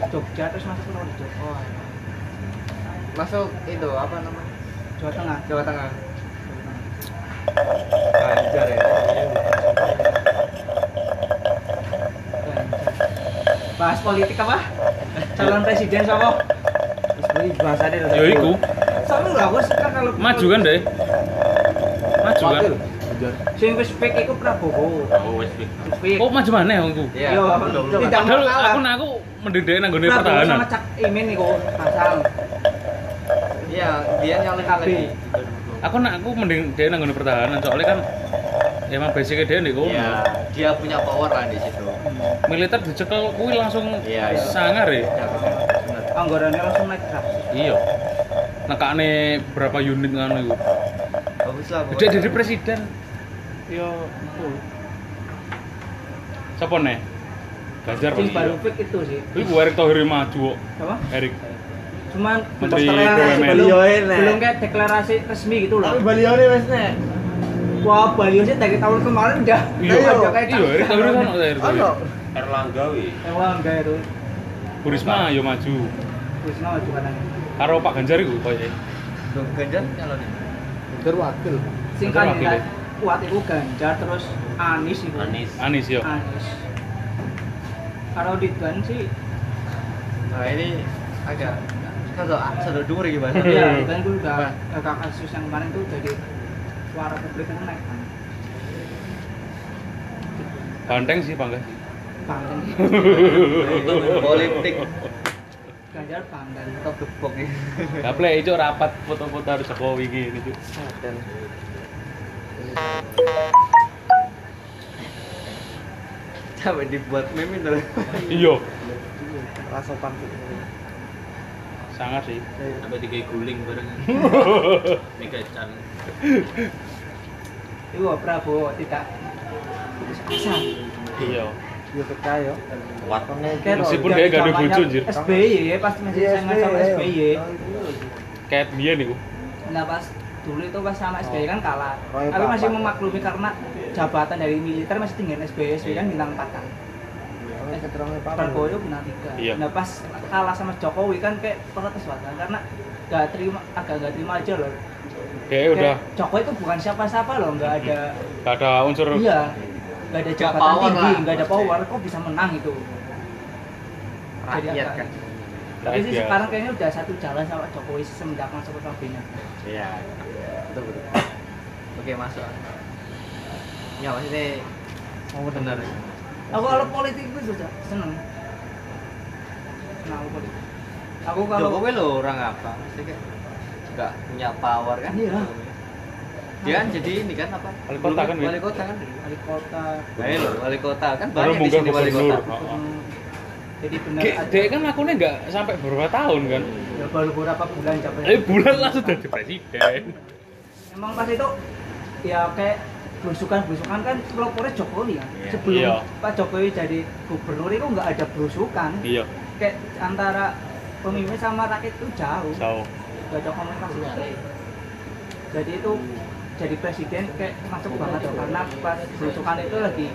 D: Jogja terus masuk Purworejo
A: Oh. Masuk itu apa namanya?
D: Jawa Tengah
A: Jawa Tengah.
D: Jawa Tengah.
A: Ganjar ya.
D: bahas politik apa calon presiden siapa
F: Wis muni bahasane lho.
B: yo iku
D: sama nggak aku suka kalau
B: maju kan deh maju kan
F: Wakil.
D: sing wis fake iku Prabowo
E: Oh wis wis.
D: Wis fake
B: kok maju mana aku
A: Iya.
D: Yo,
A: aku belum- belum.
D: tidak mau
B: padahal
D: kalah
B: aku aku mendedek nang gone
D: Prabowo
B: pertahanan
D: sama Cak Imin iku pasang
A: Iya, dia nyalon lagi.
D: Tapi-
B: aku nak aku mending dia nang nggon pertahanan soalnya kan emang basicnya dia nih kono.
E: Iya, dia punya power lah
A: kan
E: di situ.
B: Militer dicekel kuwi langsung
E: Iya, iya.
B: sangar ya.
E: Ya, benar.
D: anggarannya langsung naik keras
B: Iya. Nekakne berapa unit ngono iku.
A: bagus lah
B: Gede jadi presiden.
D: yo
B: Siapa nih? Ganjar
D: sing
B: pasti.
D: baru pick itu sih
B: Iku Erick Thohir maju kok.
D: apa
B: Erik.
D: cuman
B: Menteri
D: deklarasi
B: BUMN.
D: belum
F: Balioin, Nek.
D: belum kayak deklarasi resmi gitu loh
F: Tapi beliau nih wes nek.
D: wah baliho sih dari tahun kemarin udah
B: Iya,
D: udah
F: iya.
D: kayak
B: Iya, Erick Thohir kan Erick Thohir.
F: Ono.
E: Erlanggawi.
D: Wah, enggak itu
B: Bu Risma yo maju.
D: Wisma maju katanya
B: Karo Pak ya? Ganjar iku koyo.
A: dong ganjar kalau nih
F: Ganjar wakil.
D: sing
B: Ganjar
D: kandidat
B: wakil
D: kuat itu Ganjar terus Anies itu
E: Anies.
B: Anies yo.
D: Anies kalau Ridwan sih
A: nah ini agak kalau sudah ah, duri gimana
B: Hmm.
D: ya Ridwan itu udah kakak kasus yang kemarin itu jadi suara publik yang naik kan
B: Banteng sih ya? bangga.
D: Banten
A: Nah, politik
D: Ganjar gitu. Banten
A: atau gebok nih
B: Gaple itu rapat foto-foto harus Jokowi gini. Cuk.
A: sampai dibuat meme itu
B: Iya,
F: Rasopan.
B: sangat sih.
E: Sampai tiga guling bareng. Mega Chan.
D: itu Prabowo tidak putus asa
B: Iya.
F: Yo percaya.
E: Kuat.
F: Ngekek.
B: Meskipun dia gak ada bojo, anjir.
D: SBY pasti masih sangat sama SBY
B: Kayak dia nih. Bu.
D: nah pas dulu itu pas sama SBY kan kalah
F: Oh, iya,
D: tapi masih
F: apa-apa.
D: memaklumi karena jabatan dari militer masih tinggi SBY SBY kan bintang 4 kan Prabowo itu bintang 3
B: Iya.
D: nah pas kalah sama Jokowi kan kayak protes banget karena gak terima agak gak terima aja loh
B: Dia Eh, udah
D: Kayak Jokowi itu bukan siapa-siapa loh nggak ada
B: gak ada unsur
D: iya nggak ada jabatan
E: power
D: tinggi
E: lah,
D: nggak ada
E: pasti.
D: power kok bisa menang itu Jadi
A: rakyat
D: agak-
A: kan
D: tapi sih
B: Rakyat.
D: sekarang kayaknya udah satu jalan sama Jokowi semenjak masuk ke kabinet
E: Iya.
A: betul betul oke masuk ya maksudnya mau Oh, benar
D: aku kalau politik itu sudah seneng senang aku politik aku kalau
A: Jokowi lo orang apa Maksudnya kayak juga punya power kan
D: Iya.
A: dia kan jadi ini kan apa
B: Wali kota kan, Win?
A: wali kota kan
D: wali kota
A: Ayo lo wali kota kan
B: baru
A: banyak di
B: munggah
A: sini wali kota
B: gubernur. Heeh.
D: hmm, jadi benar
B: Oh. Ge-
D: aja
B: Dia kan lakunya nggak sampai beberapa tahun kan.
D: Ya, baru beberapa bulan jabatan
B: Eh bulan langsung jadi presiden.
D: emang pas itu ya kayak berusukan-berusukan kan pelopornya Jokowi kan
E: Iya.
D: sebelum
B: Iya.
D: Pak Jokowi jadi gubernur itu nggak ada berusukan
B: Iya,
D: kayak antara pemimpin sama rakyat itu jauh
B: so
D: gak ada komunikasi kan jadi itu jadi presiden kayak masuk banget tuh karena pas berusukan itu lagi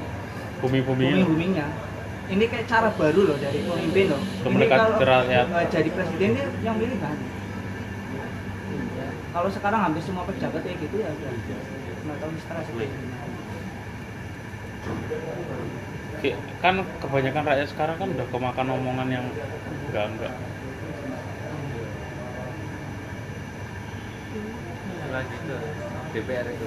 B: bumi-bumi.
D: booming-boomingnya ini kayak cara baru loh dari pemimpin loh ini
B: Mendekat
D: kalau
B: ke rakyat.
D: eh, jadi presiden dia yang milih kan Iya. kalau sekarang hampir semua pejabat kayak gitu ya udah nggak tahu sekarang seperti gimana.
B: Ki- Kan kebanyakan rakyat sekarang kan udah kemakan omongan yang enggak enggak.
A: Nah, Lanjut, DPR itu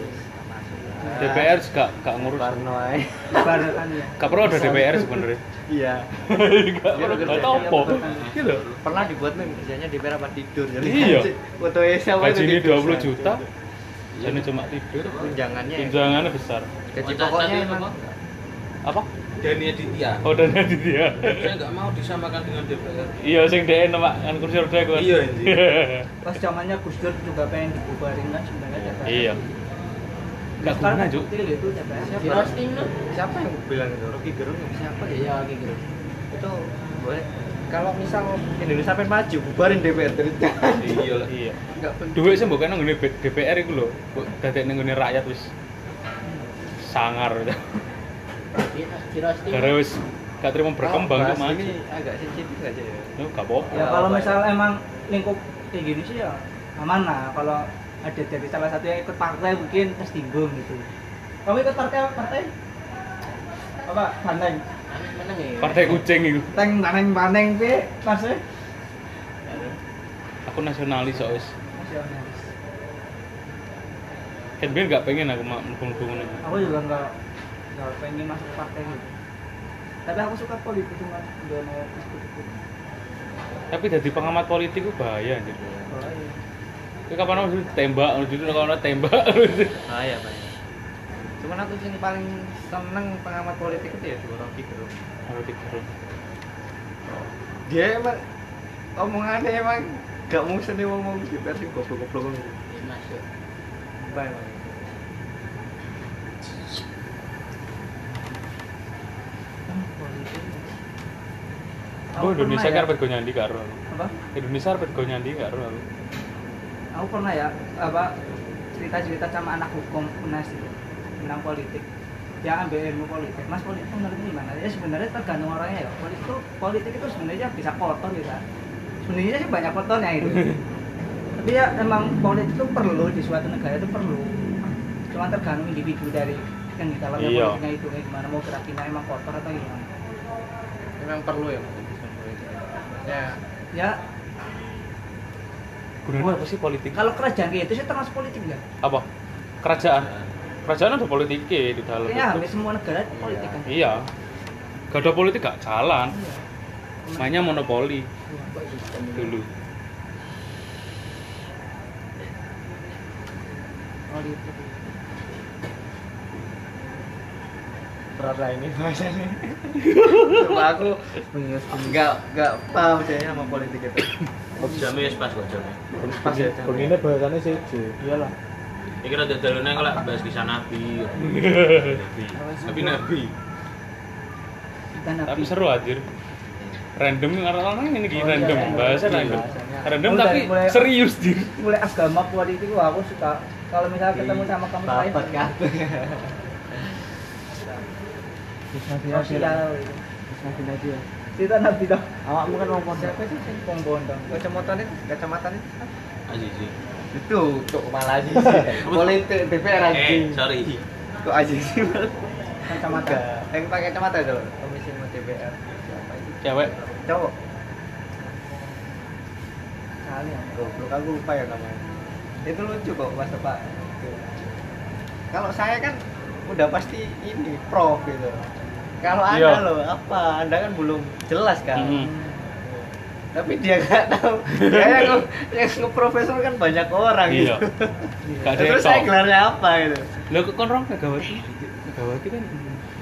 A: masuk
B: DPR juga nggak ngurus.
A: Parno aja.
D: Ibaratkan ya
B: Gak perlu ada DPR sebenarnya.
A: iya
B: Gak perlu
A: Iya,
B: gak
A: iya,
B: tau apa.
D: iya.
B: Gitu.
A: pernah dibuat meme kerjanya DPR apa tidur jadi
B: Iya.
A: fotonya siapa itu
B: Gaji ini
A: tidur.
B: 20 juta. Ini cuma tidur.
A: tunjangannya
B: Tunjangannya besar.
A: gaji
E: Cacat
A: pokoknya
E: itu apa?
A: emang
B: Apa?
E: Dani Aditya.
B: Oh dan di dia.
E: Saya nggak mau disamakan dengan DPR.
B: Iya sing DN nama kan kursi roda kan.
E: Iya, anjir.
D: pas zamannya Gus Dur juga pengen dibubarin kan sebenarnya DPR.
B: Iya. Gak
D: sekarang
B: guna, Cuk.
D: kecil itu DPR
A: Siapa?
C: di roasting tuh
A: siapa yang bilang itu Rocky Gerung siapa ya
C: iya kayak gitu
A: itu boleh kalau misal Indonesia pengen maju bubarin DPR dari
E: Iya lah.
B: Iya.
A: nggak penting
B: Duit sih bukan nang DPR iku lho. Kok dadek nang nggone rakyat wis sangar.
A: Iya.
C: Di- di roasting
B: Gara wis gak terima berkembang
A: Bahas
B: cuma.
A: ini agak sensitif aja ya
B: Yo gak apa-apa.
D: ya kalau misal emang lingkup kayak gini sih ya aman lah kalau ada dari salah satu yang ikut partai mungkin tersinggung gitu kamu ikut partai apa? partai apa banteng
C: Anies menang ya
B: Partai kucing iku.
D: teng banteng banteng eh? be maksudnya
B: Aku nasionalis kok wis.
D: nasionalis
B: Kan biyen gak pengen aku mak mlebu ngono.
D: aku juga nggak nggak pengen masuk partai gitu tapi aku suka politik cuma udah mau ikut-ikut
B: Tapi dadi pengamat politik ku bahaya anjir.
D: Oh, iya.
B: Itu kapan aku tembak, itu kapan tembak.
E: bahaya bahaya
A: Ah, iya, cuman aku sing paling seneng pengamat politik itu ya dua Rocky Gerung
B: Aduh, dikeruk.
A: dia emang omongannya emang gak mau seni ngomong di pers sih goblok-goblok ngono.
C: masuk
A: Sumpah emang
B: Aku Indonesia
A: ya.
B: kan arep go nyandi karo. aku.
D: apa
B: Indonesia arep go nyandi karo. aku.
D: aku pernah ya apa cerita-cerita sama anak hukum UNAS itu tentang politik ya ambil ilmu politik mas politik itu menurut gimana ya sebenarnya tergantung orangnya ya politik itu politik itu sebenarnya bisa kotor bisa sebenarnya sih banyak kotornya itu tapi ya emang politik itu perlu di suatu negara itu perlu cuma tergantung individu dari yang kita lakukan
B: Iya.
D: politiknya itu kayak gimana mau gerakinnya emang kotor atau gimana
A: emang perlu ya Mas, pendidikan politik ya
D: ya
B: Gunanya apa sih politik?
D: kalau kerajaan kayak itu sih termasuk politik ya
B: Apa? Kerajaan.
A: Iya.
B: Kerajaan ada politiknya di dalam.
D: kayaknya hampir
B: itu.
D: semua negara itu politik kan
B: Iya. Gak ada politik gak jalan. Mainnya monopoli dulu.
D: politik
F: berat lah ini bahasannya
A: Coba aku nggak nggak paham sih sama politik itu.
E: jamnya wis pas kok jamnya
A: Pas ya.
F: begini bahasannya sih iyalah
E: ini rada dalone engko lek bahas kisah nabi nabi nabi
D: dan
B: Tapi seru anjir. Random orang-orang ini gini random bahasa random. Random
D: Mulai-
B: tapi
D: mulai-
B: serius dir.
D: mulai agama politik wah aku suka kalau misalnya ketemu sama kamu saya
F: bapak kabeh
A: kan.
D: sosial gitu.
F: nabi ya
D: cerita nabi dong
F: awakmu kan wong pondok
D: siapa sih sing pembondong
A: Kacamata ini kacamata ini
E: Azizi
A: itu
F: Cuk, malah sih politik DPR
E: eh
F: anjing
E: sorry
A: kok aja sih Mas?
D: kacamata
A: yang pakai kacamata itu loh, komisi mau DPR siapa itu
B: Cewek.
A: cowok
D: kali ya
A: goblok aku lupa ya namanya itu lucu kok mas pak kalau saya kan udah pasti ini pro gitu kalau anda
B: Iya.
A: loh apa anda kan belum jelas kan
E: Mm-hmm.
B: Mhm.
A: tapi dia nggak tahu dia yang nge- yang ngeprofesor kan banyak orang
B: Iya.
A: gitu
B: Gak ada yang
A: terus saya
B: tahu.
A: gelarnya apa gitu
B: Lah kok kon rong Kagawati? Kagawati kan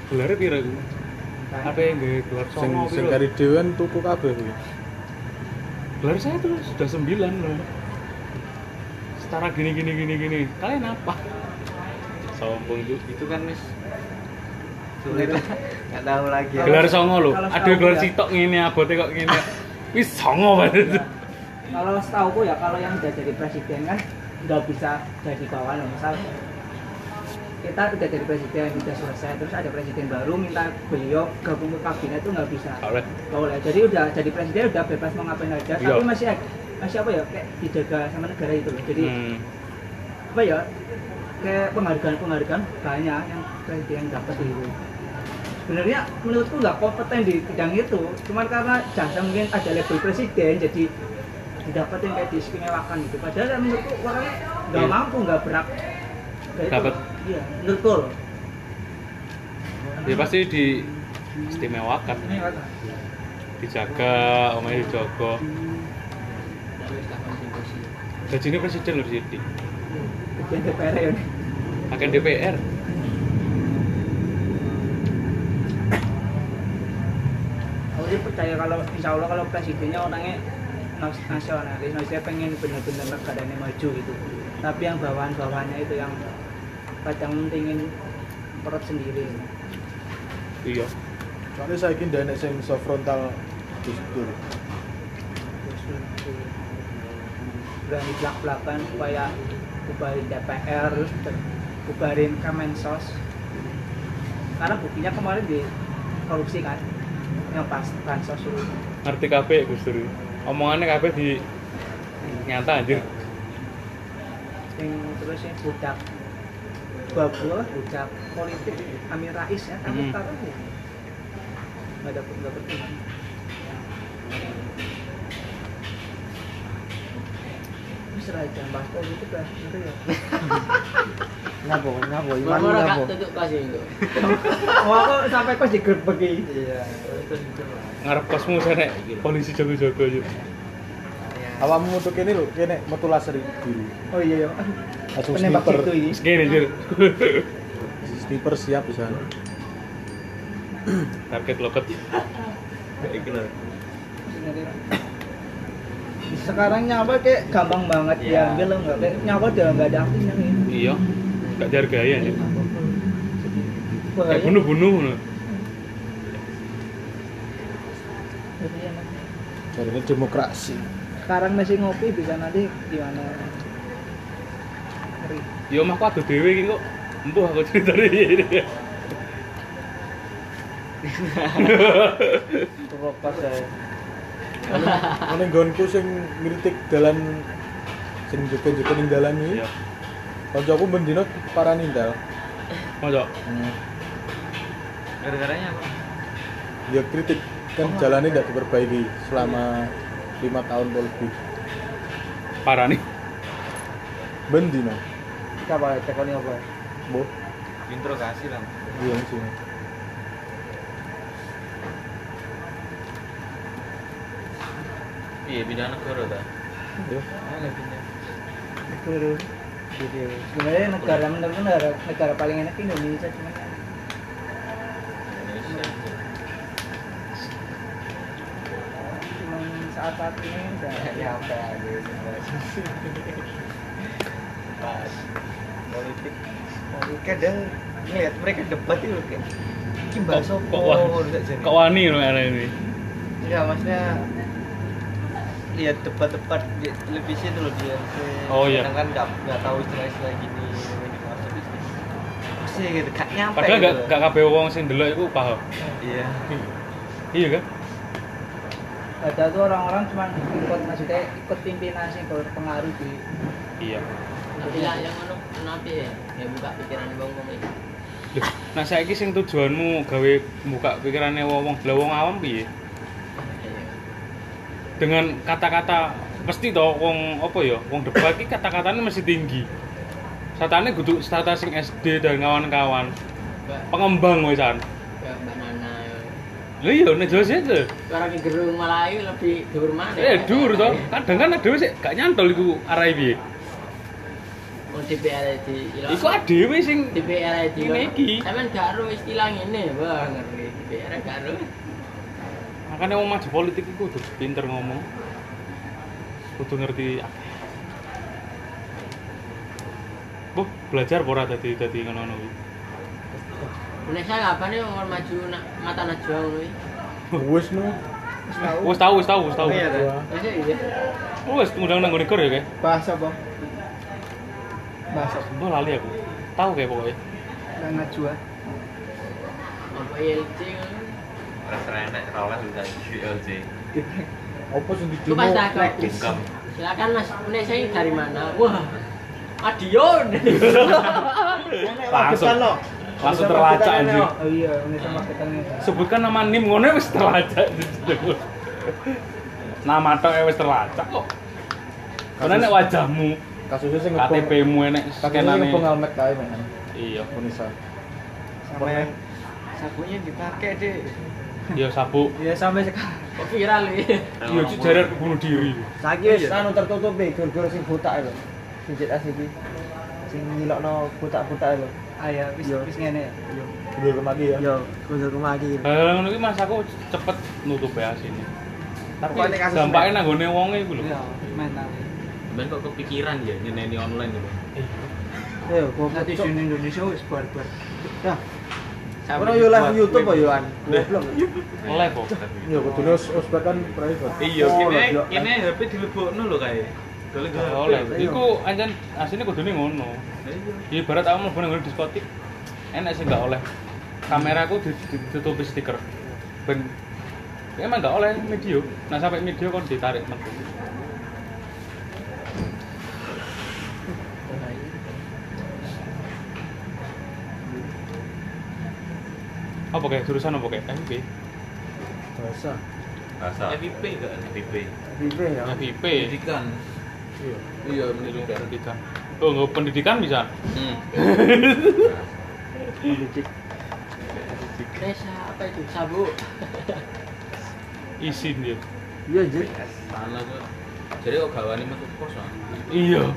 B: gelarnya pira ku? Apa yang gawe gelar
G: sing
B: songo
G: sing
B: pira?
G: kari dhewean tuku kabeh kuwi
B: Gelar saya tuh sudah sembilan loh. Setara gini gini gini gini. Kalian apa? Sombong juga.
A: itu kan mis sulit lah nggak tahu lagi
B: Gelar songo loh.
D: Kalau
B: Aduh gelar
D: setahu Iya. ya. Ah. Iya.
B: sitok ngene abote kok ngene. Wis songo banget.
D: kalau setahu ya kalau yang udah jadi presiden kan nggak bisa jadi kawan misal kita udah jadi presiden udah selesai terus ada presiden baru minta beliau gabung ke kabinet itu nggak bisa
B: Oleh.
D: nggak boleh jadi udah jadi presiden udah bebas mau ngapain aja
B: Iya.
D: tapi masih masih apa ya kayak dijaga sama negara itu loh jadi
B: Hmm.
D: apa ya kayak penghargaan penghargaan banyak yang presiden dapat itu sebenarnya menurutku nggak kompeten di bidang itu cuman karena jasa mungkin ada label presiden jadi didapatin kayak diistimewakan gitu padahal kan menurutku orangnya nggak
B: Iya.
D: mampu nggak berak Kayak itu.
B: Dapat.
D: iya menurutku loh
B: Ya pasti di istimewakan,
D: Istimewakan.
B: dijaga, omahnya dijogo.
C: terus tak konsumsi
B: Jadi ini presiden loh di sini.
D: bagian DPR ya
B: Akan DPR.
D: aku sih percaya kalau insya Allah kalau presidennya orangnya nas- nasionalis maksudnya pengen benar-benar negaranya maju gitu tapi yang bawahan-bawahannya itu yang kadang pengen perut sendiri
B: Iya.
G: soalnya saiki ndak enek sing so frontal Gus Dur
D: Terus itu berani belak-belakan supaya bubarin DPR terus ter- bubarin Kemensos karena buktinya kemarin di korupsi kan yang pas bansos itu
B: Ngerti kabeh Gus Dur. Omongannya kabeh di nyata anjir.
D: yang terus yang budak babel budak politik Amin Rais ya tapi
B: Hmm.
D: sekarang ya, nggak dapat nggak berkembang Ini seragam bahas politik lah nanti ya
F: Napa napa iman
C: Murmur kak
F: napa?
C: tutup kos itu
D: wah kok Oh, sampai kok digerbek ini
A: iya
B: Ngarep kosmu sana polisi jago-jago aja.
A: ya
G: Awakmu metu kene lho, kene metu laser iki biru.
D: oh iya iya
G: Langsung
D: penembak
G: sniper.
D: gitu ini
B: Segini anjir.
G: Sniper siap di sana.
B: Target loket.
E: Iki lho.
D: sekarang nyawa kayak gampang banget
E: Iya.
D: diambil loh nggak kayak nyawa udah nggak ada artinya nih
B: Iya. Gak dihargai anjir.
D: bahaya
B: Kayak bunuh-bunuh. ngono.
G: Jadi ini demokrasi.
D: sekarang masih ngopi bisa nanti gimana ngeri
B: Iya mah aku adu dhewe iki kok. Empuh aku ceritane ini.
F: Rokok saya.
G: Ana nggonku sing ngritik dalan sing jogo-jogo ning dalan iki.
B: Iya.
G: Kancaku mendino para nindal.
B: Mojok.
E: Gara-garanya apa?
G: Ya kritik kan jalannya tidak diperbaiki selama lima tahun atau lebih.
B: Parah nih.
G: Bendino.
D: apa cekonya apa
G: Bo,
E: Interogasi lah.
G: iya sih.
E: Iya, bidang negara ta.
G: Ya.
D: guru gitu sebenarnya negara menurut negara negara paling enak Indonesia cuma
E: Indonesia.
D: cuma saat saat ini udah
A: ya apa aja pas politik politik kadang ngeliat mereka debat itu kayak ini bahas
B: Kok-
A: apa
B: kok wah-
A: nggak jadi
B: Kok wani ngono arek ini.
A: ya maksudnya lihat debat-debat di televisi itu loh dia
B: Oh, iya.
A: kadang kan nggak nggak tahu istilah-istilah gini ini maksud itu. sih gitu gak nyampe
B: Padahal
A: gitu
B: gak
A: loh.
B: gak kabeh wong sing ndelok iku paham.
A: iya
B: Iya kan?
D: ada tuh orang-orang cuma ikut maksudnya ikut pimpinan sih berpengaruh di
B: Iya.
C: tapi lah yang ngono nanti ya buka pikiran bang bang ini
B: Loh, nah saiki sing tujuanmu gawe buka pikirane wong delok wong awam piye? Dengan kata-kata mesti to wong apa ya? Wong debat iki kata-katane mesti tinggi. Satane kudu strata sing SD dan kawan-kawan. Pengembang wisan.
C: ya mbak Nana
B: Lho iya nek jelas itu.
C: orang yang gerung Melayu lebih dur mana
B: Eh dur to. Kadang kan dhewe sik gak nyantol iku arahe piye.
C: mau DPR Oh, di
B: Iku adewe sing
C: DPR di
B: Ini iki.
C: sampean gak ero istilah ngene wah ngeri DPR gak ero
B: makanya wong maju politik iku kudu pinter ngomong. Kudu ngerti Bu, belajar pora tadi tadi ngono-ngono kuwi.
C: Indonesia apa nih mau maju nak mata najwa ngono iki
G: Wes nu.
B: Wis tahu, wis tahu, wis tahu.
A: iya tuh
C: Masa iya
B: Wis ngundang nang ngene ya, kayak.
D: bahas apa bahas apa
B: Mbah lali aku. Tahu kayak pokoknya.
D: dan najwa
C: apa ILC ngono
E: Ora enak ra oleh bidang ULJ.
G: Apa sing
C: Lu pas
G: didemo?
C: tak
E: Bungkam.
C: silakan mas Indonesia ini dari mana wah Madiun
B: Langsung. Langsung terlacak anjir.
D: oh iya ini sama kita nih
B: Sebutkan nama NIM ngono wis terlacak. Nama tok eh, wis terlacak kok. Karena nek wajahmu,
G: Kasusnya sing ngebom.
B: KTP-mu enek
G: Kasusnya sing
B: skenane.
G: ngebom almet kae men.
B: Iya.
G: Unisa.
D: sama yang
A: sabunya dipakai deh
B: Iya sabuk.
D: ya sampai sekarang
C: kok viral iki
B: Iya itu jarak bunuh diri.
F: Saiki
A: Oh,
F: wis
A: iya.
F: anu tertutupi gur-gur sing botak lho. Sing cetak siki. Sing nyilokno botak-botak lho.
D: ayah Ah, wis
F: Yo.
D: wis ngene yo
G: Dulu kemaki
E: Iya.
G: ya.
A: Iya,
F: Yo, gur-gur magi.
B: Hal ngono iki mas aku cepet nutup ya sini.
A: tapi ini kasus
B: Dampaknya nang gone wong iku lho.
D: yo mental
E: Ben kok kepikiran ya nyeneni online itu.
F: Yo,
D: Nah, di
F: goblok.
D: sini Indonesia wis bar-bar
F: Ono yo live YouTube kok yo an. Goblok.
B: Oleh kok.
G: Ya kudune wis wis bahkan private.
E: Iya,
F: Oh,
G: Eh,
E: kene
F: goblok.
E: kene HP dilebokno lho kae. Golek
B: Gak
E: HP.
B: Oleh. Iku anjen asline kudune ngono.
E: Iya.
B: Ibarat aku mlebu nang diskotik enak sih gak oleh. Kameraku di- di- ditutupi stiker. Ben ya emang gak oleh video. Nah sampai video kon ditarik metu. Apa kayak jurusan apa kayak FIP?
F: Bahasa.
E: Bahasa. FIP gak FIP.
F: Bibe ya.
B: FIP.
E: Pendidikan.
G: Iya.
E: Iya,
B: pendidikan oh nggak pendidikan bisa
E: Hmm.
C: Indonesia apa itu sabu
B: izin dia
F: Iya, Jir.
E: Salah kok. Jadi kok gawane metu kos. ah.
B: Iya.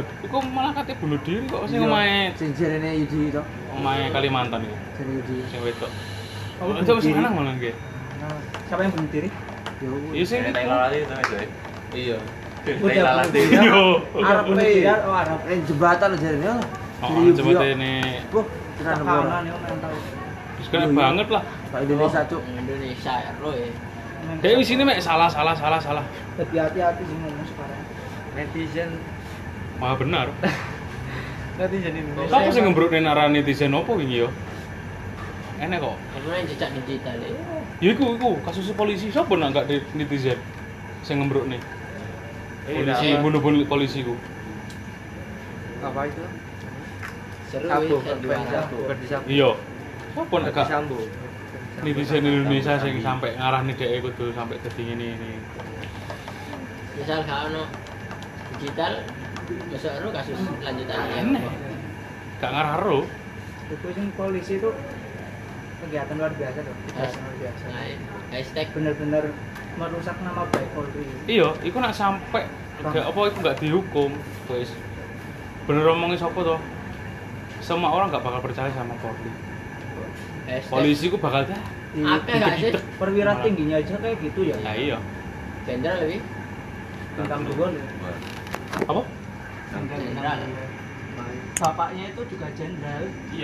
B: Loh, iku malah kate bunuh diri kok sing omahe
F: Sing jarene Yudi itu.
B: omahe Kalimantan iku,
F: Jarene Yudi.
B: sing wedok. Oh,
D: Oh, bunuh
B: itu
D: diri.
B: seneng malah nggih.
F: Nah,
D: Siapa yang bunuh diri?
F: yo.
B: Iya sing
H: Nek
B: iku.
H: lalati to Mas. Joy.
E: Iya.
H: Nek lalati.
B: Iya.
D: Arab
F: Arab,
D: bunuh diri,
F: eh.
D: oh Arab.
F: Eh jembatan loh jarene. Oh,
B: Oh,
F: Jadi
B: coba
F: Yudi,
B: dene.
F: yo. Wah, tenan
D: Kanan,
F: ora.
D: ya, orang tahu.
B: Wis kena banget lah.
F: Pak Indonesia cuk.
C: Oh, Indonesia eh. ro ya.
B: Dewi sini mek salah salah salah salah.
D: Lebih hati-hati sih ngomong sekarang.
A: netizen
B: Maha benar.
A: netizen Indonesia
B: Sopo sing ngembrukne nara netizen opo wingi yo? Enek kok.
C: Karena yang jejak digital eh. ya.
B: Ya iku iku kasus polisi sopo nang gak di- netizen sing ngembrukne.
A: Eh,
B: Polisi bunuh-bunuh polisi ku.
A: apa itu
C: Seru
A: sabu
C: ya,
A: Ferdi
C: kedua
A: sabu Ferdi sabu
B: Iya. Sopo nek
A: Ferdi
B: gak
A: Sambo
B: netizen Indonesia sing sampai ngarah dhek kudu sampai dadi ngene ini.
C: Misal gak ono digital masuk ro kasus lanjutan ya.
B: Aneh. Gak ngarah ro.
D: Itu sih polisi itu kegiatan luar biasa loh. Kegiatan luar biasa.
C: Nah, hashtag
D: Bener-bener merusak nama baik polri.
B: Iya, iku nak sampai gak apa iku gak dihukum, guys. Bener omongin sopo to? Semua orang gak bakal percaya sama polisi.
C: hashtag
B: Polisi ku bakal dah.
C: Apa gak sih?
D: Perwira tingginya aja kayak gitu ya.
B: Ya iya.
C: Jenderal lebih
D: Bintang dua loh.
B: Apa?
C: jenderal.
D: Bapaknya itu juga jenderal.